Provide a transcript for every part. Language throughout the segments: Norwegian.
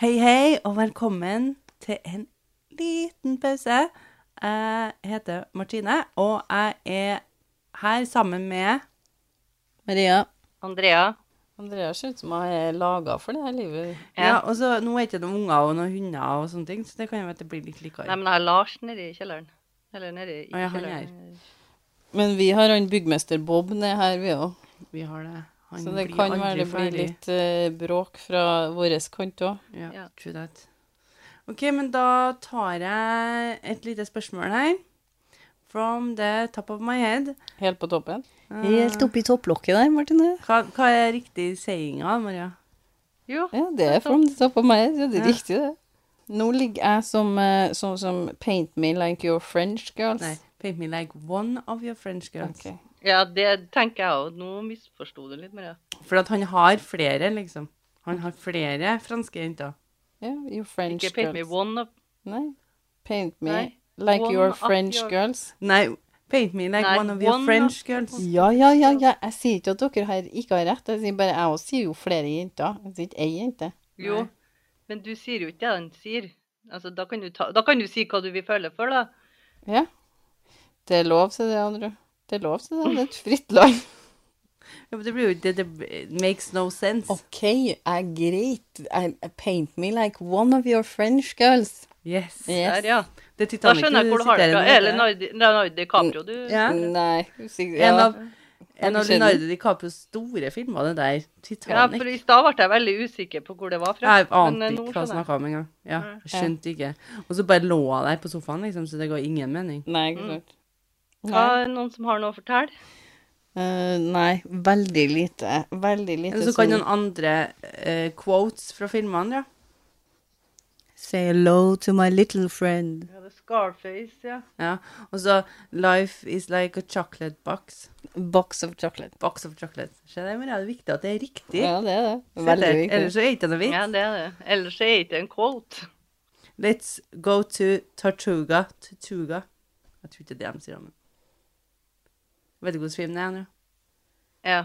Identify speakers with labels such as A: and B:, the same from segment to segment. A: Hei, hei, og velkommen til en liten pause. Jeg heter Martine, og jeg er her sammen med
B: Maria.
C: Andrea.
B: Andrea ser ut som hun er laga for det her livet.
A: Ja, og så Nå er det ikke noen unger og noen hunder, og sånne ting, så det kan jo være at det blir litt
C: Nei,
A: likere.
C: men jeg har Lars nedi kjelleren. Eller nedi i
A: Å, ja, han er
C: kjelleren.
B: Men vi har han byggmester Bob ned her, vi òg.
A: Vi har det. Han
B: Så det
A: blir
B: kan
A: aldri
B: være det blir
A: ferdig.
B: litt eh, bråk fra vår kant òg.
A: Ja,
C: Ja.
A: true that. OK, men da tar jeg et lite spørsmål her. From the top of my head.
B: Helt på toppen.
A: Helt
B: oppi topplokket der, Martine.
A: Hva, hva er riktig sayinga, Maria?
C: Jo.
B: Ja, det er from the top of my head. Ja, det
A: Ja.
B: er riktig, det. Nå ligger jeg som, eh, sånn som paint me like your French girls.
A: Nei, paint me like one of your French girls.
B: Ok.
C: Ja, det tenker jeg òg. Nå misforsto du litt, Maria.
A: For at han har flere, liksom. Han har flere franske jenter.
B: Ja, your French
C: Ikke paint me
B: girls.
C: one of
B: Nei. Paint me
C: Nei.
B: like
C: One
B: your
C: of
B: French
C: your-
B: girls.
A: Nei, paint me like
C: Nei,
A: one of your
C: one
A: French
C: of-
A: girls.
B: Ja, ja, ja, ja. Jeg sier ikke at dere her ikke har rett. Jeg sier bare jeg også sier jo flere jenter. Jeg sier ikke ei jente.
C: Jo.
A: Nei.
C: Men du sier jo ikke det han sier. Altså, da kan, du ta, da kan du si hva du vil føle for, da.
B: Ja. Det er lov til det, andre. Det er lov til det. Det er et fritt land.
A: Ja, men det blir jo det, det makes no sense.
B: OK, er greit. I- paint me like one of your French girls.
A: Yes.
B: Yes.
C: Der, ja.
A: Det er
C: Da
A: Titanic
C: skjønner jeg hvor du har det fra.
A: siterer
C: Eller
A: nå,
C: Leonardo- Leonardo DiCaprio, du.
A: Ja.
B: Nei. sikkert-
A: En
B: Ja.
A: av, en av
B: skjønner.
A: Leonardo DiCaprios store filmer, det der.
C: Ja, for
A: Titanic.
C: I stad ble jeg veldig usikker på hvor det var fra.
A: Jeg ante
C: Men, eh, nå
A: ikke hva jeg
C: skjønner jeg.
A: snakka om engang. Ja,
C: Nei.
A: jeg skjønte ikke. Og så bare lå jeg der på sofaen, liksom, så det ga ingen mening.
B: Nei, ikke sant. Mm.
C: Hva,
B: Nei.
C: noen som har noe å fortelle?
B: Eh, nei, veldig lite. Veldig lite.
A: Eller så kan noen andre eh, quotes fra filmene, ja.
B: Say hello to my little friend.
C: Ja, det er Scarface, ja.
A: ja. Og så Life is like a chocolate box.
B: Box of chocolate.
A: Box of chocolate. Skjer det, Maria? Det er viktig at det er riktig.
B: Ja, det er det. Veldig
A: Eller- Ellers
B: viktig.
A: så er det ikke noe
C: ja
A: vits.
C: det er det. Ellers er det ikke en quote.
A: Let's go to Tartuga. Tartuga. Jeg tror ikke det er det de sier, men Vet du hvordan film det er nå?
C: Ja.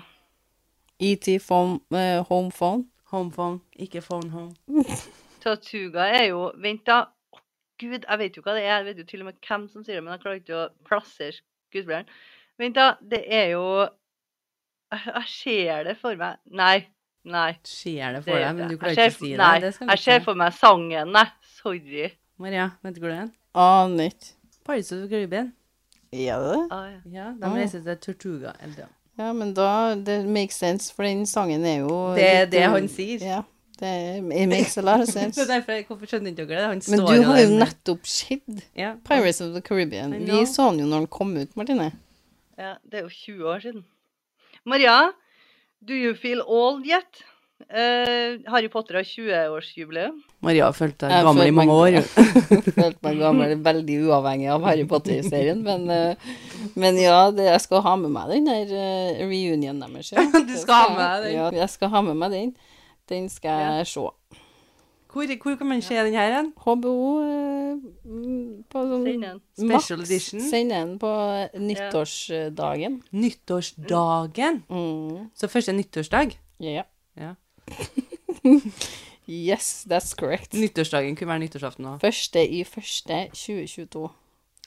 B: ET E from eh, home phone.
A: Home phone, ikke phone home.
C: Tatuga er jo Vent, da. Å, Gud, jeg vet jo hva det er. Jeg vet jo til og med hvem som sier det, men jeg klarer ikke å plassere skuespilleren. Vent, da. Det er jo Jeg jeg ser det for meg. Nei. Nei.
A: Skjer det for
C: Det,
A: deg, men du klarer
C: jeg
A: ikke å
C: ser-
A: si det.
C: Nei,
A: det skal du
C: jeg ser
A: ikke.
C: for meg sangen, nei. Sorry.
A: Maria, vet du hvor det er?
B: Aner ikke.
A: Pirates of the Caribbean.
B: Er det det?
C: Ah, ja.
A: Ja, de
B: Ah.
A: reiser til Tortuga. Eller, ja.
B: Ja, men da Det makes sense, for den sangen er jo
A: Det er
B: litt-
A: det han sier.
B: Ja. Det er, it makes a lot of sense.
A: Så derfor, hvorfor skjønner ikke dere det? Han
B: Men
A: står
B: du har
A: der
B: jo
A: med-
B: nettopp sett
A: ja.
B: Pirates of the Caribbean.
A: I know.
B: Vi så den jo når den kom ut, Martine.
C: ja. Det er jo 20 år siden. Maria, do you feel old yet? Eh, Harry Potter har 20-årsjubileum.
A: Maria har følt deg
B: Jeg
A: gammel i
B: følte meg-
A: mange år. jo.
B: Følte meg gammel, veldig uavhengig av Harry Potter-serien, men, eh, men ja, det, jeg skal ha med meg den der eh, reunionen deres. Ja.
A: Du
B: Det
A: skal ha
B: jeg.
A: med deg den.
B: Ja, jeg skal ha med meg den. Den skal jeg se.
A: Hvor, hvor kan man se den her hen?
B: HBO eh, mm, på sånn
C: Send den.
A: Special
B: Max
A: edition.
B: sender den på nyttårsdagen.
A: Nyttårsdagen.
B: Mm,
A: Så første nyttårsdag.
B: ja.
A: Ja.
B: Yes, that's correct.
A: Nyttårsdagen kunne være nyttårsaften òg.
B: Første i første 2022.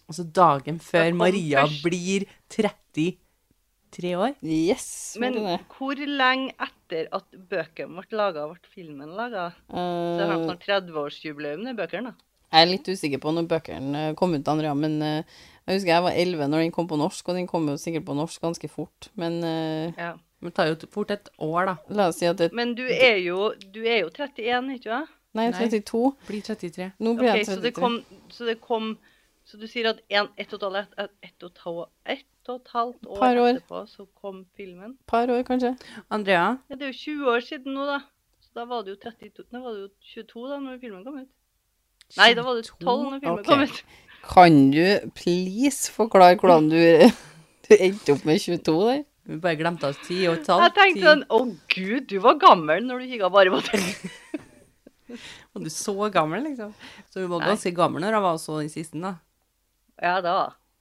A: Altså dagen
C: Da
A: før
C: kom
A: Maria
C: først-
A: blir 33 år.
B: Yes,
C: Men
B: Martine.
C: hvor lenge etter at bøkene ble laga, ble filmen laga? Så har de
B: Eh,
C: sånn 30-årsjubileum, de bøkene. da.
B: jeg er litt usikker på når bøkene eh, kom ut, Andrea, men eh, jeg husker jeg var 11 når den kom på norsk, og den kom jo sikkert på norsk ganske fort. Men eh,
C: Ja.
A: Men det tar jo fort et år, da.
B: la oss si at det
C: Men du er jo, du er jo 31, ikke sant?
B: Nei,
A: Nei.
B: 32.
A: Blir 33.
B: Nå blir
C: Ok,
B: jeg 33.
C: så det kom Så det kom Så du sier at en, ett og et halvt et, et og et halvt- et og et halvt år,
B: Par år.
C: etterpå så kom filmen?
B: Par år, kanskje.
A: Andrea,
C: Ja, det er jo 20 år siden nå, da. Så da var du jo 32 Nei, var du jo 22 da når filmen kom ut? Nei, da var du 12 når filmen
B: Ok.
C: kom ut.
B: Kan du please forklare hvordan du, du endte opp med 22 der?
A: vi bare glemte oss 10 og et halvt.
C: Jeg tenkte
A: ti.
C: sånn Å gud, du var gammel når du kikka bare på den.
A: Og du er så gammel, liksom. Så hun var
C: Nei.
A: ganske gammel når hun var så den siste, da.
C: Ja, da.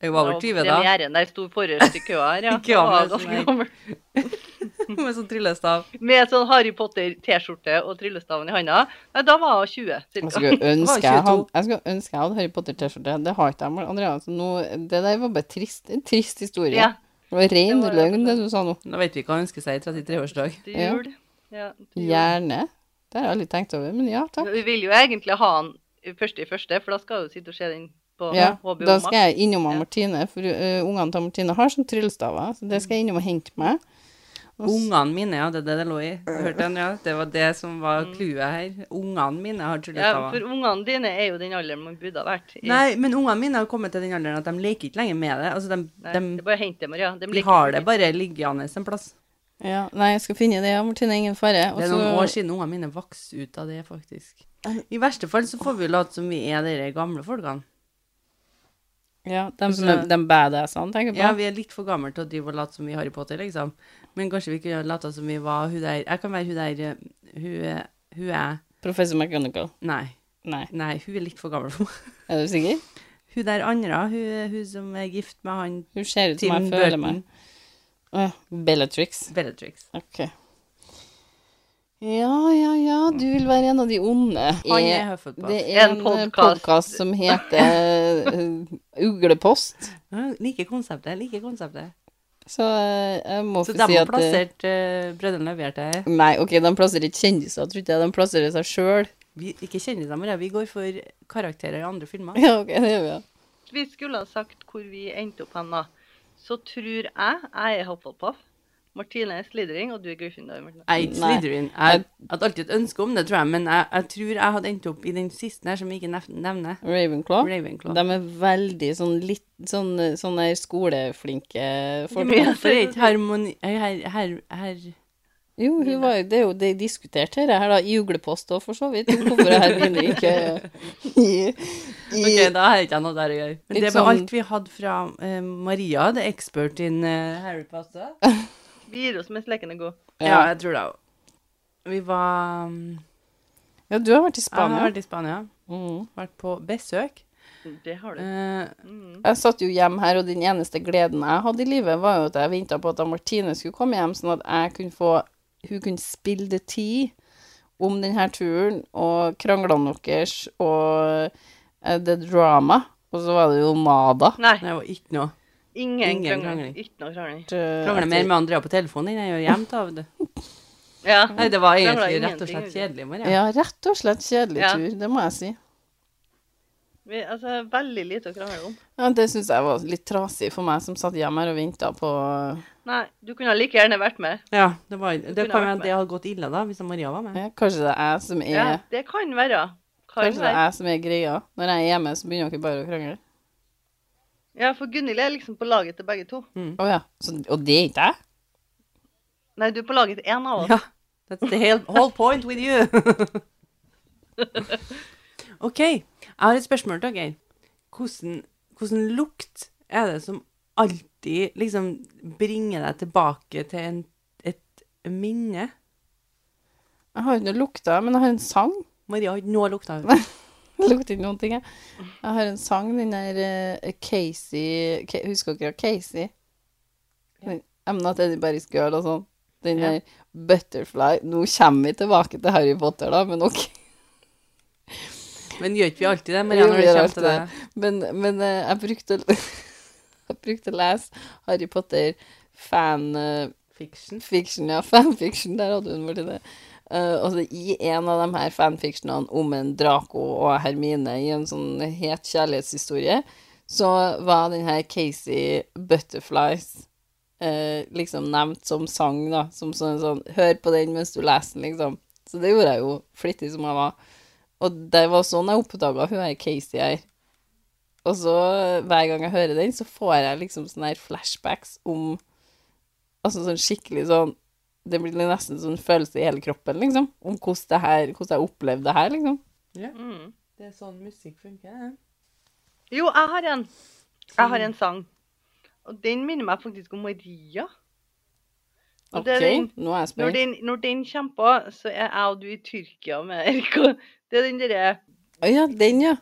A: Hun var over 20 da.
C: Premieren der sto forrest i køa her, ja.
A: Køa
C: Jeg var
A: med sånn
C: ganske
A: her.
C: gammel.
A: med sånn tryllestav.
C: Med sånn Harry Potter-T-skjorte og tryllestaven i handa. Nei, da var hun 20,
B: Jeg
C: cirka.
B: skulle ønske jeg
A: 22.
B: hadde, jeg skulle ønske jeg hadde Harry Potter-T-skjorte. Det har ikke jeg, men Andrea. Så nå, det der var bare trist, en trist historie.
C: Ja,
B: Det var ren
C: Det var-
B: løgn, det du sa nå.
A: Nå vet vi hva hun ønsker seg i 33-årsdag.
C: til
B: Ja.
C: jul. Ja, til jul.
B: Gjerne. Det har jeg aldri tenkt over, men ja, takk.
C: Vi vil jo egentlig ha den første i første, for da skal du sitte og se den på
B: Ja,
C: HBO
B: da
C: Max.
B: skal jeg innom
C: Ja.
B: han Martine, for eh, ungene til han Martine har sånn tryllestaver, så det skal jeg innom og hente meg. Og s-
A: Ungene mine, ja, det er det det lå i. Du hørte den, ja? Det var det som var clouet her. Ungene mine har
C: Ja,
A: tryllestaver.
C: for ungene dine er jo den alderen man burde ha vært. i.
A: Nei, men ungene mine har kommet til den alderen at de leker ikke lenger med det. Altså, de,
C: Nei, det er
A: de,
C: bare å hente Maria. De
A: de
C: liker
A: har
C: ikke
A: det bare liggende en plass.
B: Ja, nei, jeg skal finne det, ja, Martine, ingen fare. Og
A: Det er
B: så-
A: noen år siden ungene mine vokste ut av det, faktisk. I verste fall så får vi late som vi er de gamle folkene.
B: Ja, de, som
A: Så-
B: er- de badassene, tenker jeg på.
A: Ja, vi er litt for gamle til å drive og late som vi er Harry Potter, liksom. Men kanskje vi kunne late som vi var hun der Jeg kan være hun der eh, Hun er, hun er
B: Professor McGonagall.
A: Nei.
B: Nei,
A: Nei, hun er litt for gammel for meg.
B: er du sikker?
A: Hun der andre, hun, hun som er gift med han
B: Hun ser ut som
A: Tim
B: jeg føler
A: Burton.
B: meg. Åh, Bellatrix.
A: Bellatrix.
B: Ok. Ja, ja, ja, du vil være en av de onde.
A: Han
B: Er-
A: er
B: Det
A: Hufflepuff.
B: er
C: En
B: en
C: podcast.
B: podkast som heter eh, Uglepost.
A: Ja, Liker konseptet, liker konseptet.
B: Så eh, jeg må
A: Så
B: få
A: de
B: si
A: har
B: at eh,
A: plassert uh, Brødrene Løvhjerte
B: Nei, OK, de plasserer ikke kjendiser, tror ikke jeg. De plasserer seg sjøl.
A: Vi ikke kjenner dem, men vi går for karakterer i andre filmer.
B: Ja, ok, det gjør vi. ja.
C: Vi skulle ha sagt hvor vi endte opp hen, da. Så tror jeg jeg er Hufflepuff, Martine er Slidring, og du er Gryffindor. Martine.
A: Jeg er ikke
B: Nei.
A: Slytherin. Jeg hadde alltid et ønske om det, tror jeg, men jeg, jeg tror jeg hadde endt opp i den siste her, som vi ikke nev- nevner.
B: Ravenclaw.
A: Ravenclaw.
B: De er veldig sånn litt sånn, sånn der skoleflinke folk.
A: Men Hvorfor er ikke harmoni... Her, her, her.
B: Jo, hun var, jo- det er jo det diskutert her, her da, i uglepost òg, for så vidt. Hvorfor det her begynner ikke i, i
A: OK, da har jeg ikke noe der å gjøre. Men
B: Litt
A: det var
B: sånn-
A: alt vi hadde fra eh, Maria, the expert in eh, Harry Potter.
C: Vi gir oss mens leken er god.
A: Ja,
B: ja.
A: jeg tror det òg. Vi var mm,
B: ja, du har vært i
A: Jeg har
B: Spania.
A: vært i Spania.
B: Mm.
A: Vært på besøk.
C: Det har du.
A: Eh,
C: Mm.
B: Jeg satt jo hjem her, og den eneste gleden jeg hadde i livet, var jo at jeg venta på at da Martine skulle komme hjem, sånn at jeg kunne få Hun kunne spille det tid om denne turen og kranglene deres og eh, det drama. Og så var det jo Mada.
C: Nei,
A: det var ikke noe.
C: ingen,
A: ingen
C: krangling.
A: krangling.
C: Ikke noe krangling.
A: Krangler mer med Andrea på telefonen enn jeg gjør hjemme. da, vet du.
C: Ja.
A: Nei, det var
C: Krangler
A: egentlig rett og
C: ingenting,
A: slett kjedelig, Maria.
B: Ja, rett og slett kjedelig
C: Ja.
B: tur, det må jeg si.
C: Vi, altså, veldig lite å krangle om.
B: Ja, det syns jeg var litt trasig for meg som satt hjemme her og venta på
C: Nei, du kunne ha like gjerne vært med.
A: Ja, det, var, det
C: kunne
A: kan
C: vært
A: hende det hadde gått ille da, hvis Maria var med.
B: ja, eh, Kanskje det er jeg som er
C: Ja, det kan være. Kan
B: Kanskje det er
C: være.
B: jeg som er greia. Når jeg er hjemme, så begynner dere bare å krangle.
C: Ja, for Gunhild er liksom på laget til begge to.
B: Å ja. Så, og det er ikke jeg?
C: Nei, du er på laget til én av oss.
A: Ja. That's the whole, whole point with you. OK. Jeg har et spørsmål til dere. Hvordan, hvordan lukt er det som alltid liksom bringer deg tilbake til en, et minne?
B: Jeg har ikke noe lukta, men jeg har en sang.
A: Maria har ikke noe lukta. av det.
B: Det lukter ikke noen ting, jeg. Jeg har en sang, den der eh, Casey Ca- Husker dere Casey? Den, I'm not anybody's girl og sånn. Den
A: Ja.
B: der Butterfly Nå kommer vi tilbake til Harry Potter, da, men ok.
A: Men gjør ikke vi alltid det, Maria, når
B: Vi
A: det
B: gjør
A: kommer
B: alt
A: til det?
B: Men, men eh, jeg brukte å- Jeg brukte å lese Harry Potter fan eh,
A: Fiction.
B: fiction, ja, fanfiction, der hadde hun vært i det. Eh, altså, I en av de her fanfictionene om en Draco og Hermine i en sånn het kjærlighetshistorie, så var den her Casey Butterflies eh, liksom nevnt som sang, da. Som sånn, sånn Hør på den mens du leser den, liksom. Så det gjorde jeg jo, flittig som jeg var. Og det var sånn jeg oppdaga hun her Casey her. Og så, hver gang jeg hører den, så får jeg liksom sånne her flashbacks om Altså sånn skikkelig sånn Det blir nesten sånn følelse i hele kroppen, liksom. Om hvordan det her Hvordan jeg opplevde det her, liksom.
C: Mm.
A: Det er sånn musikk funker.
C: Jo, jeg har en. Jeg har en
B: Mm.
C: sang. Og den minner meg faktisk om Maria. Og
B: OK,
C: det er den-
B: nå er jeg
C: Når
B: spent.
C: den, når den kommer på, så er jeg og du i Tyrkia med Erika. Det er den derre
B: Å ja, den, ja.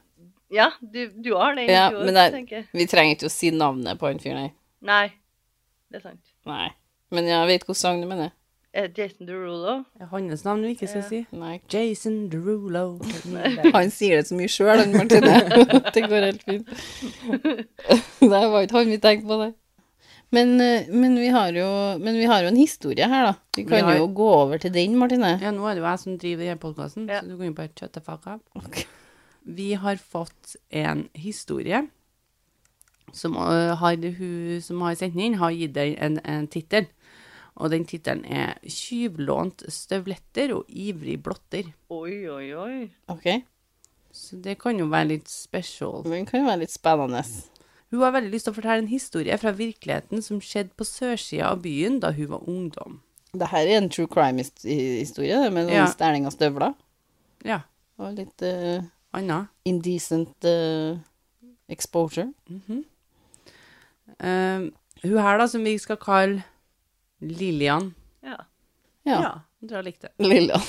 C: Ja, du, du har den.
B: Ja,
C: du også,
B: men det er-
C: tenker jeg.
B: Vi trenger ikke å si navnet på han fyren her.
C: Nei, det er sant.
B: Nei. Men jeg vet hvilken sang du mener.
C: Eh, Jason Derulo.
A: Det er hans navn vi ikke skal
C: Ja.
A: si.
B: Nei.
A: Jason Derulo.
B: Han sier det så mye sjøl, han Martine. det går helt fint. Det var ikke han vi tenkte på, det. Men, eh, men, vi har jo, men vi har jo en historie her, da. Vi kan
A: har-
B: jo gå over til den, Martine.
A: Ja, nå er det jo jeg som driver denne podkasten,
C: Ja.
A: så du kan jo bare shut the fuck up. Vi har fått en historie som, øh, har, hun som har sendt den inn, har gitt deg en, en tittel. Og den tittelen er 'Tyvlånt støvletter og ivrig blotter'.
C: Oi, oi, oi.
B: Ok,
A: Så det kan jo være litt special.
B: Den kan jo være litt spennende.
A: Hun har veldig lyst til å fortelle en historie fra virkeligheten som skjedde på sørsida av byen da hun var ungdom.
B: Det her er en true crime-historie, med noen
A: Ja.
B: stjerning av støvler.
A: Ja,
B: Og litt eh,
A: Anna.
B: indecent eh, exposure.
A: Eh, Mhm. hun her, da, som vi skal kalle Lillian.
C: Ja.
B: Ja.
A: jeg tror jeg likte det.
B: Lillian.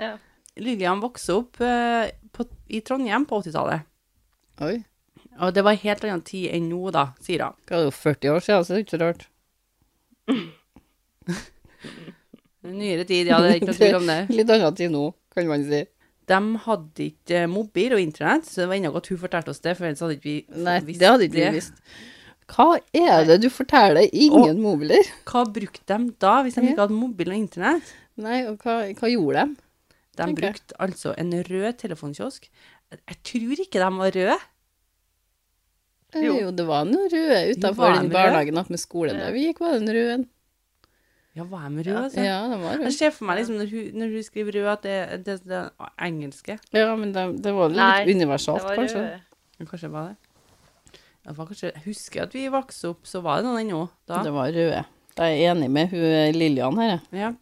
C: ja.
A: Lillian vokste opp eh, på, i Trondheim på 80-tallet.
B: Oi.
A: Og det var en helt annen tid enn nå, da, sier hun.
B: Det er jo 40 år siden, så det er ikke så rart.
A: Nyere tid, ja, det er ikke noe tvil om det.
B: Litt annet tid nå, kan man si.
A: De hadde ikke eh, mobil og internett, så det var ennå godt hun fortalte oss det, for ellers hadde ikke vi
B: Nei,
A: visst
B: det hadde ikke vi visst. Hva er det du forteller? Ingen mobiler?
A: Hva brukte de da, hvis de
B: Ja.
A: ikke hadde mobil og internett?
B: Nei, og hva, hva gjorde de?
A: De
B: Ok.
A: brukte altså en rød telefonkiosk. Jeg jeg tror ikke de var røde.
B: Eh,
C: Jo.
B: Jo, det var noen røde
A: var
B: utenfor
A: de
B: den
A: røde?
B: barnehagen oppe med skolen der vi gikk, var den røde.
A: Ja, var de røde, altså?
B: Ja, den var
A: Jeg
B: rød.
A: ser for meg liksom når hun, når hun skriver rød, at det er det, det, er engelske.
B: Ja, men det, det var
C: Nei,
B: litt
C: Det
B: universalt,
C: var eh,
B: kanskje.
C: røde.
A: Men Kanskje det var det. Det var kanskje, jeg husker at vi vokste opp, så var det noen ennå. Da.
B: Det var røde. Da er jeg enig med hun eh, Lillian her, jeg.
A: Ja.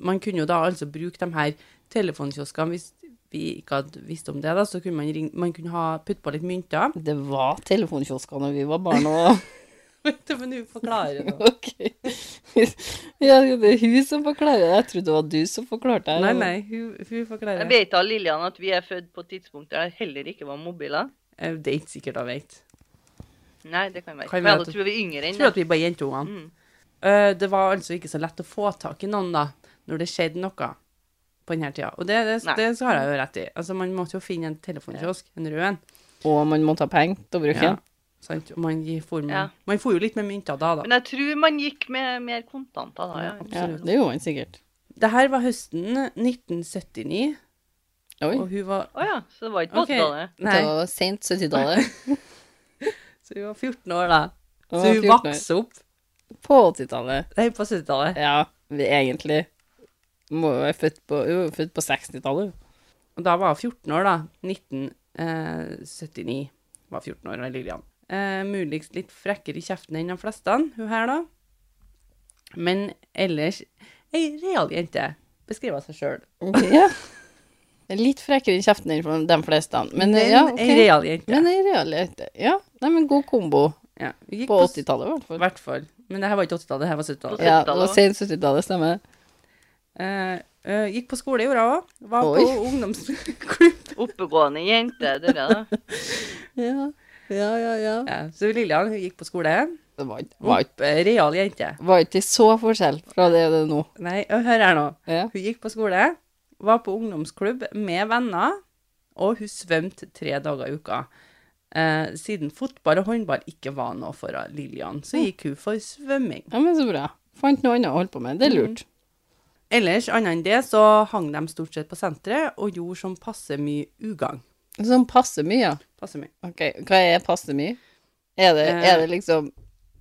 A: Man kunne jo da altså bruke de her telefonkioskene hvis vi ikke hadde visst om det, da, så kunne man, ring, man kunne ha, putte på litt mynter.
B: Det var telefonkiosker når vi var barn og
A: Vent, Men hun forklarer nå.
B: Ok. Ja, det er hun som forklarer det. Jeg trodde det var du som forklarte det.
A: Nei, nei, hun, hun
C: Jeg
A: forklarer.
C: vet da, Lillian, at vi er født på tidspunkt der det heller ikke var mobiler.
A: Eh, Det er ikke sikkert hun vet.
C: Nei, det kan
A: Kan
C: være. For jeg
A: være at-
C: tror vi er yngre
A: Jeg
C: enn
A: tror
C: det.
A: at vi bare er jentungene.
C: Mm.
A: Eh, Det var altså ikke så lett å få tak i noen da, når det skjedde noe på denne tida. Og det, det,
C: Nei.
A: det har jeg jo rett i. Altså, man måtte jo finne en telefonkiosk, en rød en.
B: Og man måtte ha penger til å bruke
A: Ja,
B: den.
A: sant? Og Man, gir- får med,
C: Ja.
A: man får jo litt med mynter da, da.
C: Men jeg tror man gikk med mer kontanter da.
A: Ja,
B: Ja,
A: absolutt.
B: det gjorde man sikkert.
A: Det her var høsten 1979,
B: Oi.
A: og hun var,
C: Å ja, så det var ikke
A: Ok.
C: okay.
A: nei,
B: Det var sent 70-tallet.
A: så hun var 14 år da. Så
B: Hun var
A: hun
B: 14 år.
A: vokste opp
B: På 80-tallet.
A: nei, på 70-tallet.
B: Ja, vi egentlig må jo være født på, jo, født på 60-tallet.
A: Og da var hun 14 år da, 1979 var 14 år, var Lillian. Eh, muligst litt frekkere i kjeften enn de fleste, hun her da. Men ellers, ei real jente beskriver seg selv.
B: Ja. Det er Litt frekkere i kjeften enn de fleste, men,
A: Men
B: ja,
A: ei
B: ok.
A: real jente.
B: Men i realitet, ja. Nei, men god kombo
A: ja, hun gikk
B: på
A: på
B: 80-tallet, i hvert fall.
A: hvert fall. Men det her var ikke 80-tallet, det her var 70-tallet.
B: Ja, det var sent 70-tallet, stemmer det.
A: Eh, eh, gikk på skole i år òg. Var
B: Oi.
A: på ungdomsklubb.
C: Oppegående jente, dere da.
B: Ja, ja, ja. ja.
A: Ja, så Lillian hun gikk på skole.
B: Det var, var,
A: Opp, eh, real jente.
B: var ikke så forskjell fra det det er nå.
A: Nei, og hør her nå.
B: Ja.
A: Hun gikk på skole, var på ungdomsklubb med venner, og hun svømte tre dager i uka. Eh, siden fotball og håndball ikke var noe for Lillian, så gikk hun for svømming.
B: ja, men så bra. Fant noe annet å holde på med. Det er lurt.
A: Ellers, annet enn det, så hang de stort sett på senteret og gjorde som passe mye ugagn.
B: Sånn passe mye, ja.
A: Passe mye.
B: Ok, hva er passe mye? Er det,
A: Eh.
B: er det liksom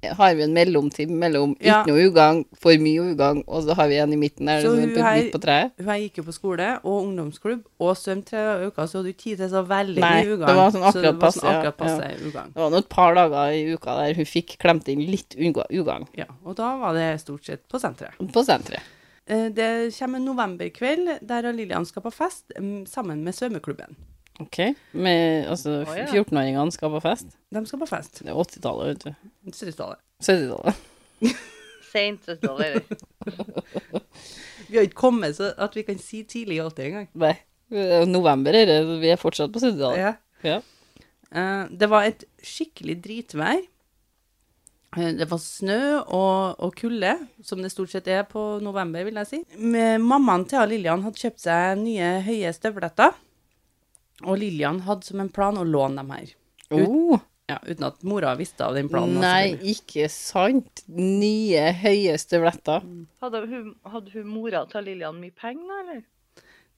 B: Har vi en mellomtid mellom
A: Ja.
B: ikke noe ugagn, for mye ugagn, og så har vi en i midten der,
A: Så
B: som er
A: hun
B: midt
A: her-
B: midt på treet?
A: Hun her gikk jo på skole og ungdomsklubb og svømte tre dager i uka, så hadde hun ikke tid til så veldig
B: Nei,
A: mye ugang.
B: det var sånn
A: så
B: akkurat passe,
A: sånn
B: ja,
A: akkurat
B: ja.
A: passe ugang.
B: Det var nå et par dager i uka der hun fikk klemt inn litt unga- ugagn
A: Ja, og da var det stort sett på senteret.
B: på senteret.
A: Eh, Det kommer en novemberkveld der Lillian skal på fest mm, sammen med svømmeklubben.
B: Ok, Med, altså,
C: Å, ja.
B: 14-åringene skal på fest.
A: De skal på fest.
B: Det er 80-tallet, vet du.
A: 70-tallet.
B: 70-tallet.
C: Sent 70-tallet. eller?
A: Vi har ikke kommet så at vi kan si tidlig i 80 engang.
B: Nei. det er November er det, så vi er fortsatt på 70-tallet.
A: Ja.
B: Ja.
A: Eh, Det var et skikkelig dritvær. Eh, Det var snø og, og kulde, som det stort sett er på november, vil jeg si. Men Mammaen til Lillian hadde kjøpt seg nye høye støvletter, og Lillian hadde som en plan å låne dem her.
B: Oh,
A: Ja, uten at mora visste av den planen.
B: nei,
A: selvfølgelig.
B: ikke sant. Nye, høye støvletter.
C: Hadde hun, hadde hun mora til Lillian mye penger, da, eller?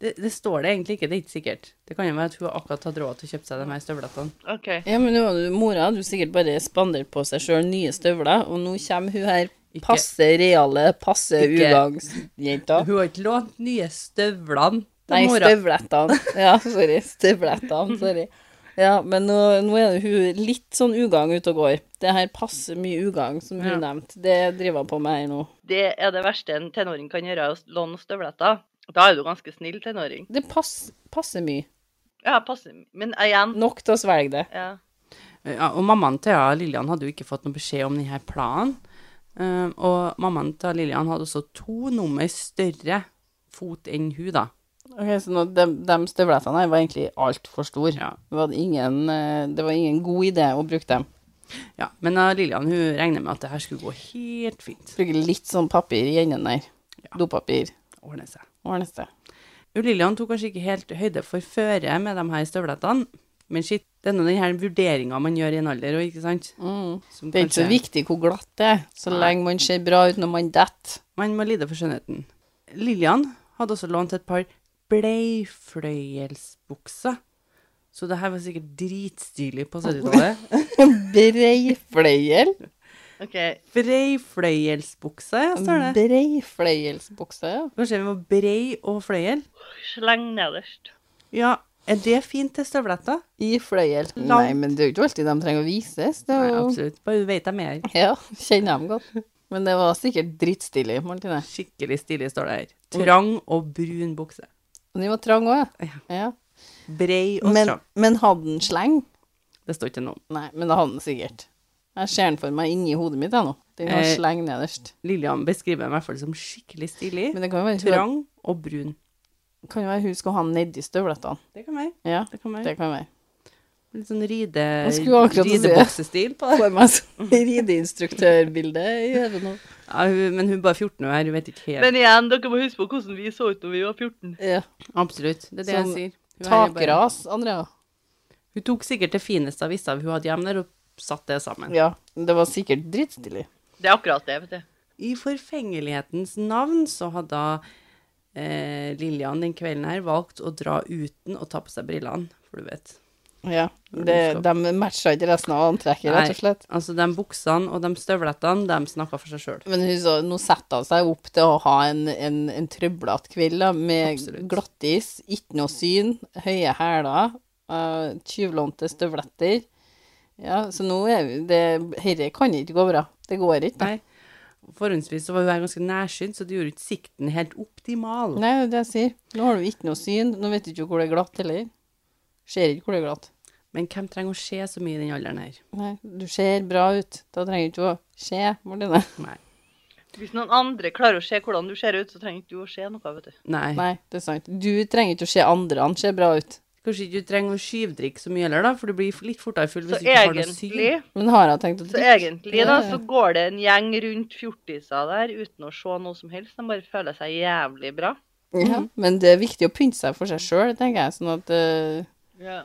A: Det, det står det egentlig ikke, det er ikke sikkert. Det kan jo være at hun akkurat hadde råd til å kjøpe seg de her støvlettene.
C: OK.
B: Ja, men nå hadde du, mora hadde jo sikkert bare spandert på seg sjøl nye støvler, og nå kommer hun her
A: Ikke-
B: passe reale, passe
A: Ikke-
B: ugangsjenta.
A: Hun har ikke lånt nye støvlene til
B: Nei,
A: mora.
B: støvlettene. Ja, sorry. Støvlettene, sorry. Ja, men nå, nå er hun litt sånn ugagn ute og går. Det her passer mye ugagn, som
A: Ja.
B: hun nevnte. Det driver hun på med her nå.
C: Det er det verste en tenåring kan gjøre, å låne støvletter. Da er du ganske snill tenåring.
B: Det pass, passer mye.
C: Ja, passer. Men eh, igjen
B: Nok til å svelge det.
C: ja.
A: Ja, og mammaen til Lillian hadde jo ikke fått noen beskjed om denne planen. Eh, og mammaen til Lillian hadde også to nummer større fot enn hun, da.
B: Ok, Så nå, de, de støvlettene her var egentlig altfor store.
A: Ja.
B: Det, var ingen, eh, det var ingen god idé å bruke dem.
A: Ja, men eh, Lillian hun regner med at det her skulle gå helt fint.
B: Bruke litt sånn papir i enden der. Dopapir.
A: Ordne seg.
B: Ordnes det.
A: Jo, Lillian tok kanskje ikke helt høyde for føre med de her støvlettene, men shit, det er nå den her vurderinga man gjør i en alder òg, ikke sant?
B: Mm.
A: Som
B: Det er ikke så
A: kanskje-
B: viktig hvor glatt det er, så
A: Nei.
B: lenge man ser bra ut når man detter.
A: Man må lide for skjønnheten. Lillian hadde også lånt et par bleifløyelsbukser, så det her var sikkert dritstilig på 70-tallet.
B: Breifløyel.
C: OK.
A: Brei fløyelsbukse, ja, står det.
B: Brei fløyelsbukse, ja.
A: Kanskje vi må brei og fløyel?
C: Sleng nederst.
A: Ja, er det fint til støvletter?
B: I fløyel.
A: Langt.
B: Nei, men det er jo ikke alltid de trenger å vises. Det
A: Nei,
B: er jo...
A: absolutt. Bare du vet dem er her.
B: Ja, kjenner dem godt. Men det var sikkert drittstilig, Martine.
A: Skikkelig stilig står det her. Trang og brun bukse.
B: Og den var trang også, ja. ja.
A: Brei og
B: Men,
A: trang.
B: men hadde den sleng?
A: Det står ikke noe. om.
B: Nei, men det hadde den sikkert. Jeg ser den for meg inni hodet mitt, jeg nå. Den har
A: Eh.
B: sleng nederst.
A: Lillian beskriver den i hvert fall som skikkelig stilig.
B: Men det kan jo være,
A: Trang og brun.
B: hun, kan jo være hun skulle ha den nedi støvlettene.
A: Det kan være.
B: Ja,
A: Det kan være.
B: det kan være.
A: Litt sånn ride,
B: skulle akkurat si det.
A: rideboksestil på det.
B: For meg sånn rideinstruktørbilde i hodet nå.
A: Ja, hun, men hun er bare 14 år her, hun vet ikke helt.
C: Men igjen, dere må huske på hvordan vi så ut da vi var 14.
B: Ja.
A: Absolutt. Det er det jeg
B: Sånn
A: sier. Hun er jo bare-
B: Takras, Andrea.
A: Hun tok sikkert det fineste av vissa hun hadde hjemme der, og satt det sammen.
B: Ja, det var sikkert drittstilig.
C: Det er akkurat det, vet du.
A: I forfengelighetens navn så hadde eh, Lillian den kvelden her valgt å dra uten å ta på seg brillene, for du vet.
B: Ja, det, de matcha ikke resten av antrekket, rett og slett.
A: Altså, de buksene og de støvlettene, de snakka for seg sjøl.
B: Men hun så, nå setter hun seg opp til å ha en, en, en trøblete kveld da, med
A: Absolutt.
B: glattis, ikke noe syn, høye hæler, eh, tyvlånte støvletter. Ja, så nå er vi det, Herre kan ikke gå bra. Det går ikke. da.
A: Nei. Forhåndsvis så var hun her ganske nærsynt, så det gjorde ikke sikten helt optimal.
B: Nei, det er det jeg sier. Nå har du ikke noe syn. Nå vet du ikke hvor det er glatt heller. Ser ikke hvor det er glatt.
A: Men hvem trenger å se så mye i den alderen her?
B: Nei, du ser bra ut. Da trenger du ikke å se, Martine.
A: Nei.
C: Hvis noen andre klarer å se hvordan du ser ut, så trenger ikke du å se noe, vet du.
A: Nei.
B: Nei, det er sant. Du trenger ikke å se andre, han ser bra ut.
A: Kanskje ikke du trenger å skyvdrikke så mye heller, da, for du blir litt fortere full
C: Så
A: hvis du ikke har noe
C: egentlig,
A: syn.
B: Men har jeg tenkt å
C: så
B: drikke?
C: egentlig da,
B: Ja, ja.
C: så går det en gjeng rundt fjortiser der uten å se noe som helst. De bare føler seg jævlig bra.
B: Ja,
A: Mm.
B: men det er viktig å pynte seg for seg sjøl, tenker jeg, sånn at eh,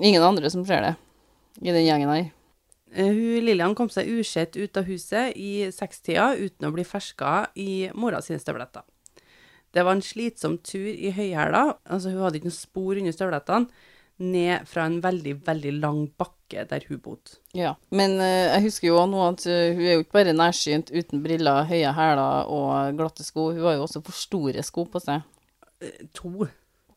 B: ingen andre som ser det i den gjengen her.
A: Eh, Hun, Lillian kom seg usett ut av huset i sekstida uten å bli ferska i mora sine støvletter. Det var en slitsom tur i høyhæla, altså hun hadde ikke noe spor under støvlettene, ned fra en veldig, veldig lang bakke der hun bodde.
B: Ja. Men eh, jeg husker jo også nå at eh, hun er jo ikke bare nærsynt uten briller, høye hæler og glatte sko, hun har jo også for store sko på seg.
A: Eh, To.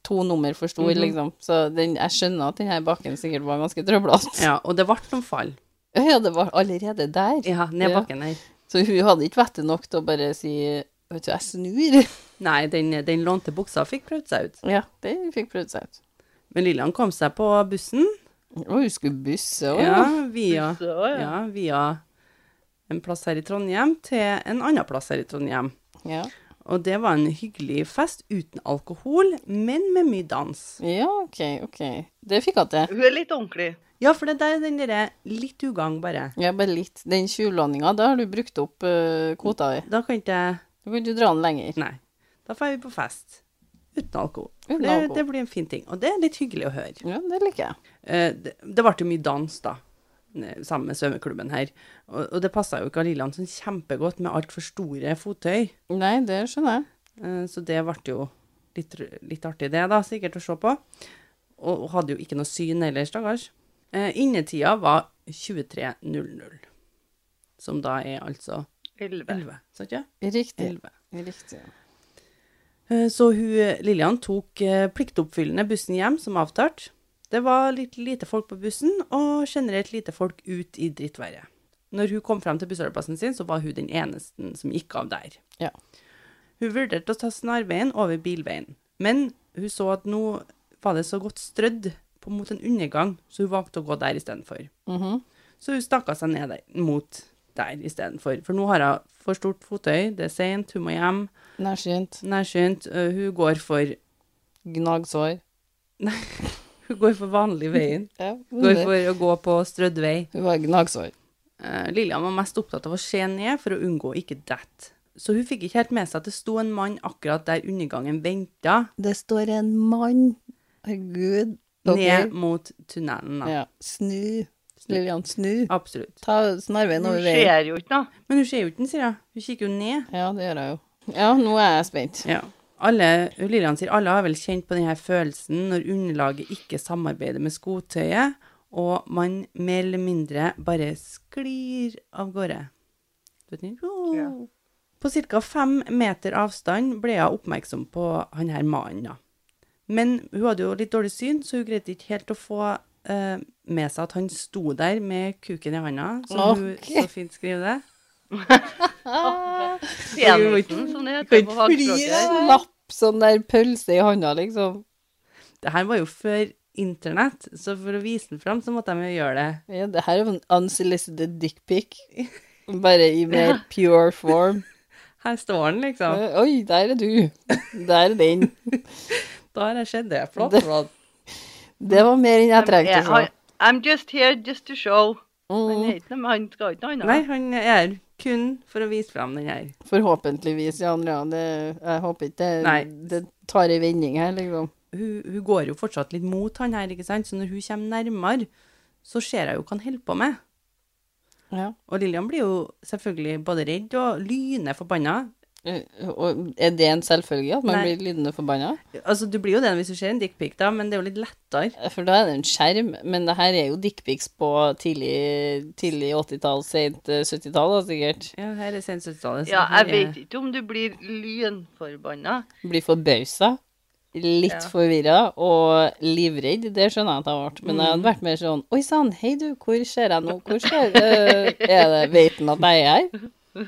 B: To nummer for stor,
A: Mhm.
B: liksom. Så den, jeg skjønner at den her bakken sikkert var ganske trøblete. Ja.
A: Ja, og det ble noen fall.
B: det var allerede der.
A: Ja, ned
B: Ja.
A: bakken her.
B: Så hun hadde ikke vett nok til å bare si Vet du, jeg snur.
A: Nei, den, den lånte buksa fikk prøvd seg ut.
B: Ja, det fikk prøvd seg ut.
A: Men Lillian kom seg på bussen,
B: Og hun skulle busse òg.
A: ja, via,
C: Så, ja.
A: ja, via en plass her i Trondheim til en annen plass her i Trondheim.
B: Ja.
A: Og det var en hyggelig fest uten alkohol, men med mye dans.
B: Ja, OK, OK. Det fikk jeg til.
C: Hun er litt ordentlig.
A: Ja, for det der er den derre litt ugagn, bare.
B: Ja, bare litt. Den tjuvlandinga, da har du brukt opp eh, kvota di.
A: Da kan ikke jeg
B: Da kan du dra den lenger.
A: Nei. Da drar vi på fest. Uten alkohol.
B: Uten
A: det,
B: alkohol.
A: det blir en fin ting. Og det er litt hyggelig å høre.
B: Ja, det liker jeg.
A: Eh, det, det ble jo mye dans, da. eh, Sammen med svømmeklubben her. Og, og det passa jo ikke Lilland sånn kjempegodt med altfor store fottøy.
B: Nei, det skjønner jeg.
A: Eh, Så det ble jo litt, r- litt artig det, da, sikkert å se på. Og hun hadde jo ikke noe syn heller, stakkars. Eh, Innetida var 23.00, som da er altså
C: Elleve.
A: 11, sa ikke jeg?
B: Riktig.
A: 11.
B: Riktig.
A: Eh, Så hun, Lillian tok eh, pliktoppfyllende bussen hjem, som avtalt. Det var litt lite folk på bussen, og generelt lite folk ut i drittværet. Når hun kom frem til bussholdeplassen sin, så var hun den eneste som gikk av der.
B: Ja.
A: Hun vurderte å ta snarveien over bilveien, men hun så at nå var det så godt strødd på mot en undergang, så hun valgte å gå der istedenfor.
B: Mhm.
A: Så hun stakka seg ned der, mot der istedenfor. For nå har hun for stort fottøy, det er seint, hun må hjem.
B: Nærsynt.
A: Nærsynt. øh, Hun går for
B: Gnagsår.
A: Hun går for vanlig veien.
B: Ja,
A: Går
B: det-
A: for å gå på strødd vei.
B: Hun var gnagsår.
A: Eh, Lillian var mest opptatt av å se ned for å unngå å ikke dette. Så hun fikk ikke helt med seg at det sto en mann akkurat der undergangen venta,
B: Det står en mann. Herregud.
A: ned mot tunnelen. Da.
B: Ja. Snu. Lillian, snu.
A: Absolutt.
B: Ta snarveien
C: Hun
B: over veien.
C: ser jo ikke noe.
A: Men hun ser jo ikke den, sier hun. Hun kikker jo ned.
B: Ja, det gjør jeg jo. Ja, nå er jeg spent.
A: Ja. Alle, Lillian sier alle har vel kjent på denne følelsen når underlaget ikke samarbeider med skotøyet, og man mer eller mindre bare sklir av gårde. Du vet ikke? Wow.
C: Ja.
A: På ca. fem meter avstand ble hun oppmerksom på han her mannen. da. Men hun hadde jo litt dårlig syn, så hun greide ikke helt å få eh, med seg at han sto der med kuken i handa, som
B: Ok.
A: hun så fint skriver det.
C: Penisen, som det heter på
B: Blir
C: fagspråket.
B: en lapp sånn der pølse i handa, liksom.
A: Det her var jo før internett, så for å vise den fram, så måtte de jo gjøre det.
B: Ja, det her er jo en unsolicited dickpic. Bare i mer pure form.
A: Her står den, liksom.
B: Eh, Oi, der er du. Der er den.
A: Da har jeg sett det. Flott,
B: Det-
A: flott.
B: Det var mer enn jeg trengte.
C: Jeg-
B: Så.
C: I- I'm just here just to show. Han,
B: Mm,
C: er ikke noe, men han skal ikke noe
A: Nei,
C: annet.
A: han er her kun for å vise fram den her.
B: forhåpentligvis, Jan Jan. Det, jeg håper ikke det,
A: Nei.
B: det tar en vending her, liksom.
A: Hun, hun går jo fortsatt litt mot han her, ikke sant? Så når hun kommer nærmere, så ser jeg jo hva han holder på med.
B: Ja.
A: Og Lillian blir jo selvfølgelig både redd og lyne forbanna.
B: Eh, Og er det en selvfølge at man
A: Nei.
B: blir lydende forbanna?
A: Altså, du blir jo det hvis du ser en dickpic, da, men det er jo litt lettere.
B: Eh, For da er det en skjerm, men det her er jo dickpics på tidlig, tidlig 80-tall, sent eh, 70-tall, da, sikkert.
A: Ja, her er sensualstallet.
C: Ja, jeg vet ikke om du blir lynforbanna.
B: Blir forbausa, litt
C: Ja.
B: forvirra og livredd. Det skjønner jeg at jeg ble. Men jeg
A: Mm.
B: hadde vært mer sånn Oi sann, hei du, hvor ser jeg nå? Hvor ser eh, Er det Veit han at jeg er her?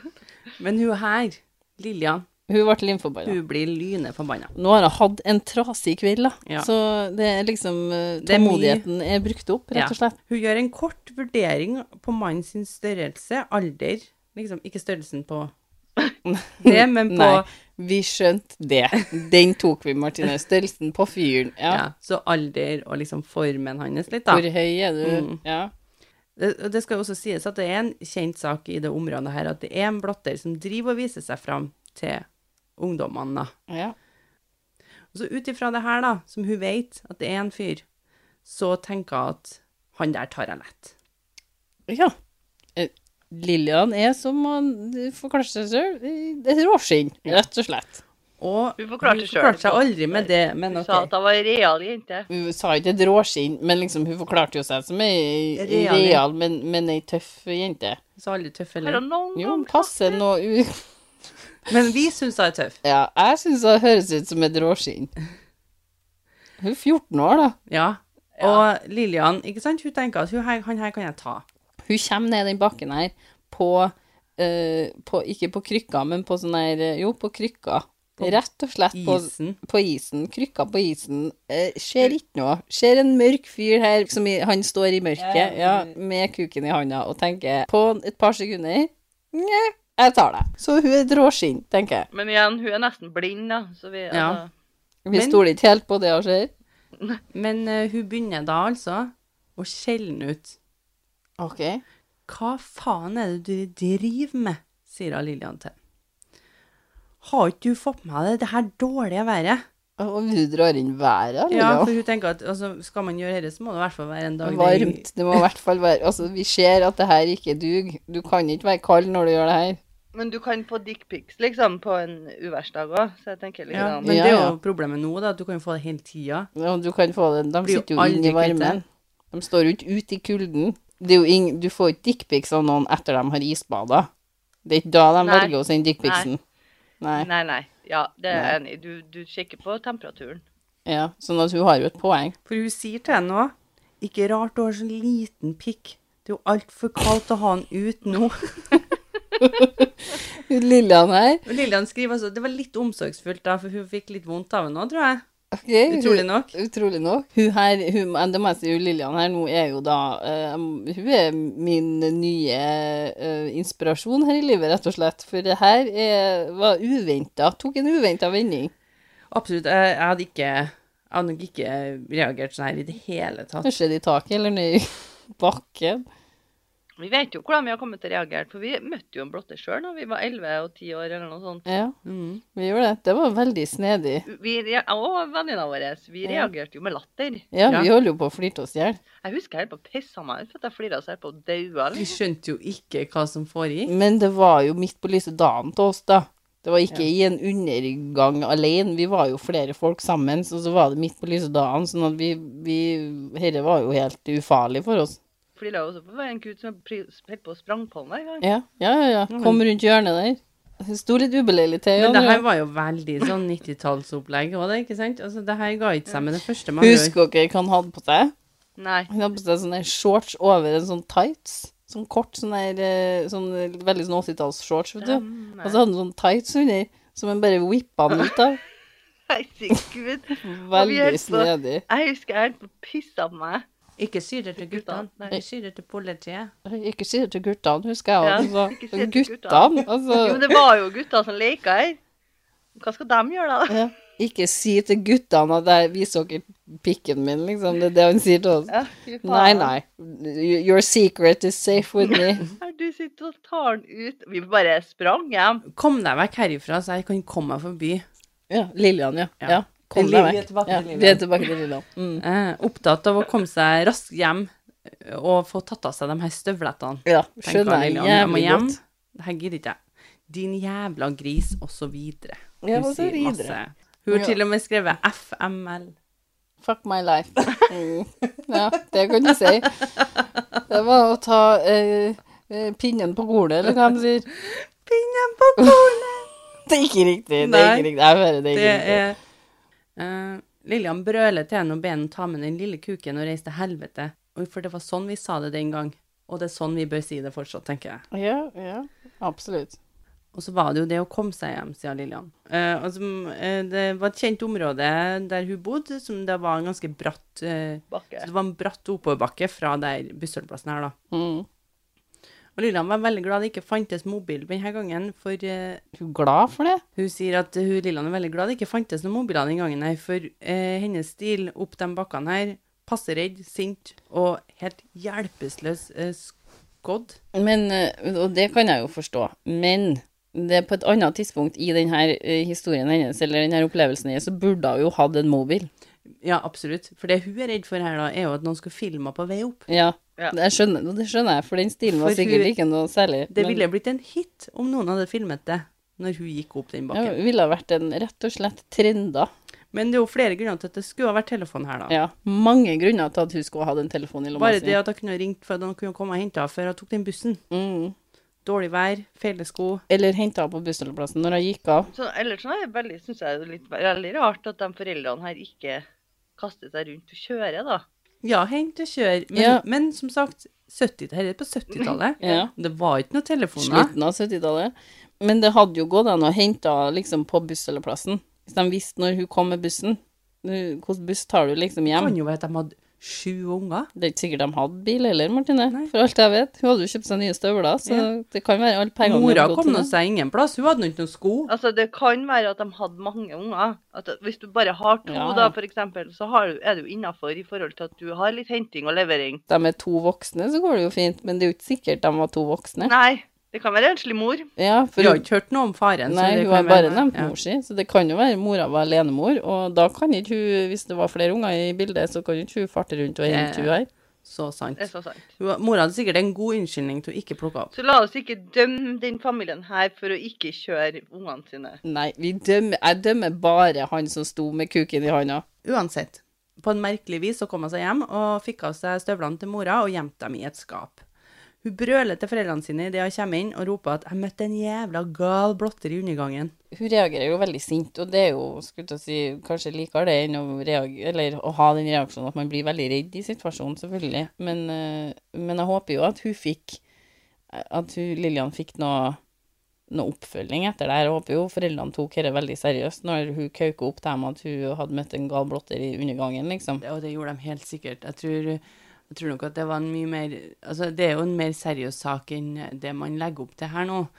A: Men hun her, Lillian,
B: Hun ble limforbanna.
A: hun blir lyne forbanna.
B: Nå har jeg hatt en trasig kveld, da.
A: Ja.
B: Så det er liksom eh,
A: Det er mye.
B: Tålmodigheten er brukt opp, rett og
A: Ja.
B: slett.
A: Hun gjør en kort vurdering på mannens sin størrelse, alder, liksom ikke størrelsen på det, men på
B: Nei, vi skjønte det. Den tok vi, Martine. Størrelsen på fyren.
A: ja.
B: Ja.
A: så alder og liksom formen hans litt,
B: Hvor
A: da. Mm.
B: høy er du? Ja.
A: Det, og det skal jo også sies at det er en kjent sak i det området her, at det er en blotter som driver og viser seg fram til ungdommene, da.
B: ja.
A: Og så ut ifra det her, da, som hun vet at det er en fyr, så tenker hun at han der tar jeg lett.
B: Ja. Eh, Lillian er, som man forklarer seg selv, et råskinn, rett og slett.
A: Og
C: Hun forklarte
A: hun
C: seg
A: forklarte
C: selv.
A: seg aldri med det, men
C: Hun
A: OK.
C: sa at hun var ei real jente.
B: Hun sa ikke et råskinn, men liksom, hun forklarte jo seg som ei ei
A: Real, ja.
B: real, men, men ei tøff jente.
A: Hun sa aldri tøff
C: Har
A: heller.
C: hun noen
B: Jo,
C: gang
B: passe nå u...
A: Men vi syns hun er tøff.
B: Ja, jeg syns hun høres ut som et råskinn. Hun er 14 år, da.
A: Ja. Og Lillian, ikke sant, hun tenker at hun her, han her kan jeg ta.
B: Hun kommer ned den bakken her på, eh, på Ikke på krykka, men på sånn her eh, Jo, på krykka. Rett og slett på
A: Isen.
B: på isen, krykka på isen, eh, ser ikke noe. Ser en mørk fyr her, som i, han
A: mm.
B: står i mørket, ja, med kuken i handa, og tenker på et par sekunder Nja, Jeg tar deg. Så hun er råskinn, tenker jeg.
C: Men igjen, hun er nesten blind, da. Så vi,
A: Ja.
C: altså,
B: Vi
A: Men-
B: stoler ikke helt på det hun sier.
A: Men eh, hun begynner da altså å skjelne ut.
B: OK.
A: Hva faen er det du driver med? sier hun Lillian til. Har ikke du fått med deg det her dårlige været?
B: Og hun drar inn været, liksom.
A: Ja,
B: eller?
A: for hun tenker at altså, skal man gjøre dette, så må det i hvert fall være en dag det-
B: Varmt. Det må i hvert fall være Altså, vi ser at det her ikke duger. Du kan ikke være kald når du gjør det her.
C: men du kan få dickpics, liksom, på en uværsdag òg, så jeg tenker litt
A: Ja,
C: ja,
A: men
B: Ja,
A: det er
B: ja.
A: jo problemet nå, da, at du kan jo få det hele tida.
B: Ja, du kan få den. De
A: Blir jo
B: sitter jo inne i
A: aldri kvitt
B: varmen. De står jo ikke ute i kulden. Det er jo ing- du får ikke dickpics av noen etter de har isbada. Det er ikke da de
C: Nei.
B: velger å sende dickpicsen. Nei.
C: Nei, nei. Ja, det er jeg
B: Nei.
C: enig i. Du, du sjekker på temperaturen.
B: Ja, sånn at hun har jo et poeng.
A: For hun sier til henne òg Ikke rart du har så liten pikk. Det er jo altfor kaldt å ha den ut nå.
B: Hun Lillian her.
A: Og Lillian skriver altså Det var litt omsorgsfullt, da, for hun fikk litt vondt av henne òg, tror jeg.
B: ok,
A: Utrolig
B: hun-
A: nok.
B: Utrolig nok. Hun her, hun, men det må jeg si, hun Lillian her nå er jo da eh, Hun er min nye eh, inspirasjon her i livet, rett og slett. For det her er, var uventa. Tok en uventa vending.
A: Absolutt. Jeg, jeg hadde ikke Jeg hadde nok ikke reagert sånn her i det hele tatt.
B: Kanskje det i taket eller ned i bakken.
C: Vi vet jo hvordan vi har kommet til å reagere, for vi møtte jo en blotter sjøl da vi var 11 og 10 år eller noe sånt.
B: Ja,
A: Mm.
B: vi gjorde det. Det var veldig snedig.
C: Vi, rea- og venninna våre. Vi reagerte jo med latter.
B: Ja,
A: Ja.
B: vi holder jo på å flirte oss i hjel.
C: Jeg husker jeg helt på pissa meg ut for at jeg flira så jeg på daua.
A: Vi skjønte jo ikke hva som foregikk.
B: Men det var jo midt på lyse dagen til oss, da. Det var ikke i en undergang alene. Vi var jo flere folk sammen, så, så var det midt på lyse dagen. Sånn at vi, vi Dette var jo helt ufarlig for oss.
C: Flira også for det var en gutt som pri- holdt på å sprang på meg en gang.
B: Ja, ja, ja. ja. Kom rundt hjørnet der. Det sto litt ubeleilig til.
A: Men
B: ja,
A: det
B: nå,
A: her
B: ja.
A: var jo veldig sånn 90-tallsopplegg òg, ikke sant? Altså, det her ga ikke seg med det første man gjør.
B: Husker dere hva han hadde på seg?
C: Nei.
B: Han hadde på seg sånne shorts over en sånn tights. Sånn kort, sånn der eh, sånn, Veldig sånn 80-talls-shorts, vet du.
C: Nei.
B: Og så hadde han sånn tights under, som han bare whippa han ut av.
C: Herregud. Og vi
B: Veldig
C: helt på-
B: snedig.
C: Jeg husker jeg helt på pissa på meg.
A: Ikke si det til guttene.
C: Nei.
A: Ikke si det til politiet.
B: Ikke si det til guttene, husker jeg.
C: Ja,
B: Altså.
C: ikke si det til
B: Guttene,
C: Jo, men
B: altså.
C: det var jo gutta som leka her. Hva skal de gjøre da?
B: Ja. Ikke si til guttene at jeg viser dere pikken min, liksom. Det er det han sier til oss.
C: Ja, fy faen.
B: Nei, nei. Your secret is safe with me.
C: Her du sitter og tar den ut. Vi bare sprang hjem.
A: Kom deg vekk herifra, så jeg kan komme meg forbi.
B: Ja, Lillian, ja.
A: Ja.
B: ja. Kom
A: Lillian,
B: deg
A: vi er
B: vekk.
A: tilbake til
B: Ja,
A: Lillian.
B: vi er tilbake til Lillian. Mm.
A: Eh, opptatt av å komme seg raskt hjem eh, og få tatt av seg de her støvlettene.
B: Ja,
A: tenker
B: skjønner jeg
A: Lillian. Jeg må
B: jævlig
A: hjem.
B: godt.
A: Det her gidder ikke jeg. Din jævla gris, og så videre.
B: Ja,
A: Hun
B: og så
A: sier
B: videre.
A: masse. Hun har
B: Ja.
A: til og med skrevet FML.
B: Fuck my life. Mm. Ja, det kan du si. Det var å ta eh, eh, pinnen på kornet, eller hva de sier.
A: Pinnen på kornet!
B: Det er ikke riktig. Det er
A: Nei.
B: ikke riktig. Jeg hører det er
A: Det
B: ikke riktig.
A: er eh, Lillian brøler til henne og ber henne ta med den lille kuken og reise til helvete. Og For det var sånn vi sa det den gang. Og det er sånn vi bør si det fortsatt, tenker jeg.
B: Ja, ja. Absolutt.
A: Og så var det jo det å komme seg hjem, sier Lillian. Eh, og som, eh, det var et kjent område der hun bodde, som det var en ganske bratt eh,
C: Bakke.
A: så Det var en bratt oppoverbakke fra der bussholdeplassen her, da.
B: Mm.
A: Og Lillian var veldig glad det ikke fantes mobil denne gangen, for eh,
B: Er du glad for det?
A: hun sier at hun Lillian er veldig glad det ikke fantes noen mobiler den gangen her, for eh, hennes stil opp de bakkene her passe redd, sint og helt hjelpeløs eh, skodd.
B: Men, eh, og det kan jeg jo forstå, men det er på et annet tidspunkt i denne historien hennes, eller denne opplevelsen hennes, så burde hun jo hatt en mobil.
A: Ja, absolutt. For det hun er redd for her, da, er jo at noen skulle filme henne på vei opp.
B: Ja,
C: Ja.
B: Det, skjønner, og det skjønner jeg, for den stilen var
A: For
B: sikkert
A: hun-
B: ikke noe særlig.
A: Det
B: men-
A: ville blitt en hit om noen hadde filmet det når hun gikk opp den
B: ja,
A: bakken.
B: det ville ha vært en rett og slett trenda.
A: Men det er jo flere grunner til at det skulle ha vært telefon her, da.
B: Ja, mange grunner til at hun skulle ha den telefonen i lomma
A: Bare
B: si.
A: det at hun kunne ha ringt for at hun kunne komme og hente henne før hun tok den bussen.
B: Mm.
A: Dårlig vær, feil sko.
B: Eller henta henne på bussholdeplassen når hun gikk av.
C: Så, ellers så er det veldig, synes jeg det er litt, veldig rart at de foreldrene her ikke kaster seg rundt og kjører, da.
A: Ja, hent og kjør. Men,
B: Ja.
A: men som sagt, 70, her er det på 70-tallet.
B: Ja.
A: Det var ikke noen telefoner.
B: Slutten av 70-tallet. Men det hadde jo gått an å hente henne liksom på bussholdeplassen. Hvis de visste når hun kom med bussen. Hvilken buss tar du liksom
A: Det
B: hjem?
A: kan jo være at de hadde sju unger.
B: Det er ikke sikkert de hadde bil heller, Martine.
A: Nei.
B: For alt jeg vet. Hun hadde jo kjøpt seg nye støvler, så
A: Ja.
B: det kan være alle pengene hun
A: Mora
B: hadde gått
A: kom
B: til
A: nå
B: det.
A: seg ingen plass, hun hadde nå ikke noen sko.
C: Altså, det kan være at de hadde mange unger. At hvis du bare har to,
B: Ja, ja.
C: da, for eksempel, så har, du- er du innafor i forhold til at du har litt henting og levering.
B: De er to voksne, så går det jo fint, men det er jo ikke sikkert de var to voksne.
C: Nei, det kan være enslig mor.
B: Ja, for
A: Vi har ikke hørt noe om faren. så
B: Nei,
A: det
B: hun
A: kan
B: har bare
A: være-
B: nevnt
A: ja.
B: mor si, så det kan jo være mora var alenemor, og da kan ikke hun, hvis det var flere unger i bildet, så kan jo ikke hun farte rundt og hente
A: Ja.
B: hun her.
A: Så sant.
C: Det er så sant.
A: Hun- Mora hadde sikkert en god unnskyldning til å ikke plukke opp.
C: Så la oss ikke dømme den familien her for å ikke kjøre ungene sine.
B: Nei, vi dømmer, jeg dømmer bare han som sto med kuken i handa.
A: Uansett, på en merkelig vis så kom hun seg hjem og fikk av seg støvlene til mora og gjemte dem i et skap. Hun brøler til foreldrene sine idet hun kommer inn og roper at 'jeg møtte en jævla gal blotter i undergangen'.
B: Hun reagerer jo veldig sint, og det er jo, skulle jeg til å si, kanskje likere det enn å, reagere, eller å ha den reaksjonen at man blir veldig redd i situasjonen, selvfølgelig. Men, eh, men jeg håper jo at hun fikk, at hun, Lillian fikk noe, noe oppfølging etter det her. Jeg håper jo foreldrene tok dette veldig seriøst når hun kauka opp dem at hun hadde møtt en gal blotter i undergangen, liksom.
A: Det, og det gjorde de helt sikkert. Jeg tror, jeg tror nok at det var en mye mer Altså, det er jo en mer seriøs sak enn det man legger opp til her nå.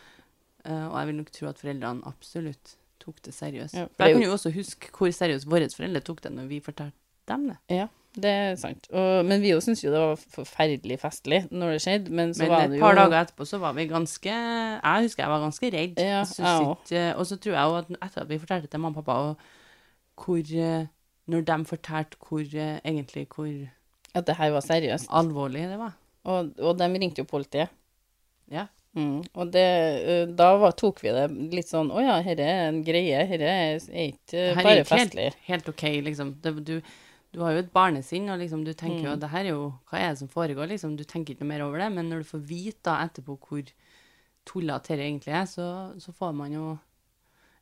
A: Eh, og jeg vil nok tro at foreldrene absolutt tok det seriøst.
B: Ja, for
A: For jeg
B: det er
A: kan jo også huske hvor seriøst våre foreldre tok det når vi fortalte dem det.
B: Det er sant. Og, men vi jo syntes jo det var forferdelig festlig når det skjedde, men så
A: Men
B: var
A: et
B: det jo
A: par dager etterpå så var vi ganske Jeg husker jeg var ganske redd.
B: Ja,
A: Jeg synes
B: jeg også.
A: ikke- og så tror jeg også at etter at vi fortalte til mamma og pappa og hvor eh, Når de fortalte hvor eh, egentlig hvor
B: at det her var seriøst.
A: alvorlig det var.
B: Og, og de ringte jo politiet.
A: Ja.
B: Mm. Og det, ø, da var, tok vi det litt sånn Å ja, dette er en greie. Dette er ikke
A: Det
B: ø,
A: her er ikke
B: bare
A: helt,
B: festlig.
A: helt ok, liksom. Det, du, du har jo et barnesinn, og liksom, du tenker jo
B: Mm.
A: at det her er jo Hva er det som foregår, liksom? Du tenker ikke noe mer over det. Men når du får vite da etterpå hvor tullete dette egentlig er, så, så får man jo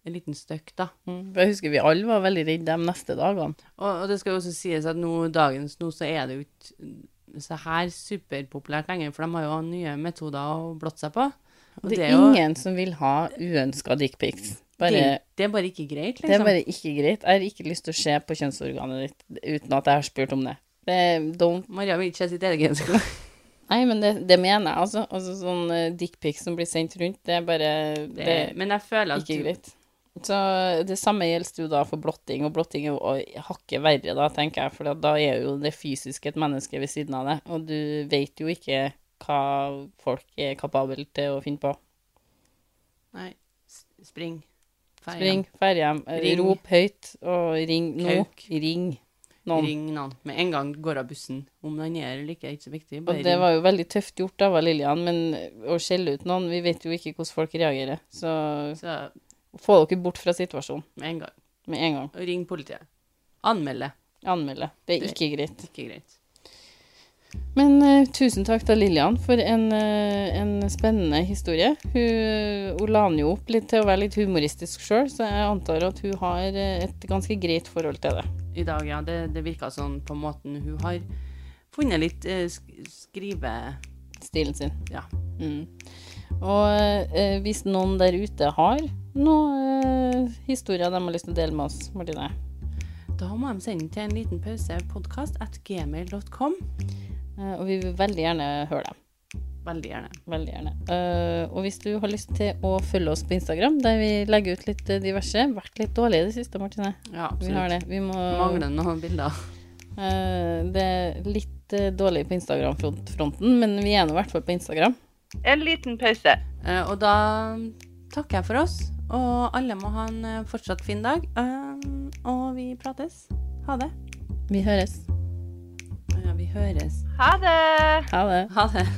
A: en liten støkk, da.
B: Mm. For jeg husker vi alle var veldig redde de neste dagene.
A: Og, og det skal jo også sies at nå, dagens nå, så er det jo ikke så her superpopulært lenger, for de har jo nye metoder å blotte seg på. Og
B: Det, er
A: jo-
B: ingen som vil ha uønska dickpics. Bare
A: det, det er bare ikke greit, liksom.
B: Det er bare ikke greit. Jeg har ikke lyst til å se på kjønnsorganet ditt uten at jeg har spurt om det. det don't
A: Maria vil ikke se sitt eget gensere.
B: Nei, men det, det mener jeg, altså. altså sånn dickpics som blir sendt rundt, det er bare
A: Det, men jeg føler at
B: Ikke
A: du,
B: greit. Så det samme gjelder jo da for blotting, og blotting er jo å- hakket verre da, tenker jeg, for da- da er jo det fysiske et menneske ved siden av deg, og du vet jo ikke hva folk er kapable til å finne på.
A: Nei, s- spring. Feil.
B: Spring, ferd hjem, eh,
A: Ring.
B: rop høyt, og ring nå.
A: Kauk.
B: Ring noen.
A: Ring noen. Med en gang går av bussen. Om den er eller ikke, er ikke så viktig.
B: Og
A: Bare
B: det
A: ring.
B: var jo veldig tøft gjort av Lillian, men å skjelle ut noen, vi vet jo ikke hvordan folk reagerer, så
A: Så
B: få dere bort fra situasjonen
A: med en gang.
B: med en gang.
A: Og ring politiet. Anmelde.
B: Anmelde. Det er
A: Det-
B: ikke greit.
A: Ikke greit.
B: Men eh, tusen takk til Lillian for en, eh, en spennende historie. Hun, hun la den jo opp litt til å være litt humoristisk sjøl, så jeg antar at hun har eh, et ganske greit forhold til det.
A: I dag, ja. Det, det virka sånn på måten hun har funnet litt eh, sk skrive...
B: Stilen sin.
A: Ja.
B: Mm. Og eh, hvis noen der ute har noen eh, historier de har lyst til å dele med oss, Martine,
A: Da må de sende til en liten pause podcast at gmail.com.
B: eh, og vi vil veldig gjerne høre dem.
A: Veldig gjerne.
B: Veldig gjerne. Eh, og hvis du har lyst til å følge oss på Instagram, der vi legger ut litt eh, diverse, vært litt dårlig i det siste, Martine.
A: Ja,
B: Vi har
A: absolutt.
B: det. Vi må
A: Mangler noen bilder.
B: Eh, Det er litt eh, dårlig på Instagram-fronten, men vi er nå i hvert fall på Instagram.
C: En liten pause.
A: Eh, og da takker jeg for oss, og alle må ha en eh, fortsatt fin dag. Eh, og vi prates. Ha det.
B: Vi høres.
A: Ja, vi høres.
C: Ha det!
B: Ha det.
A: Ha det.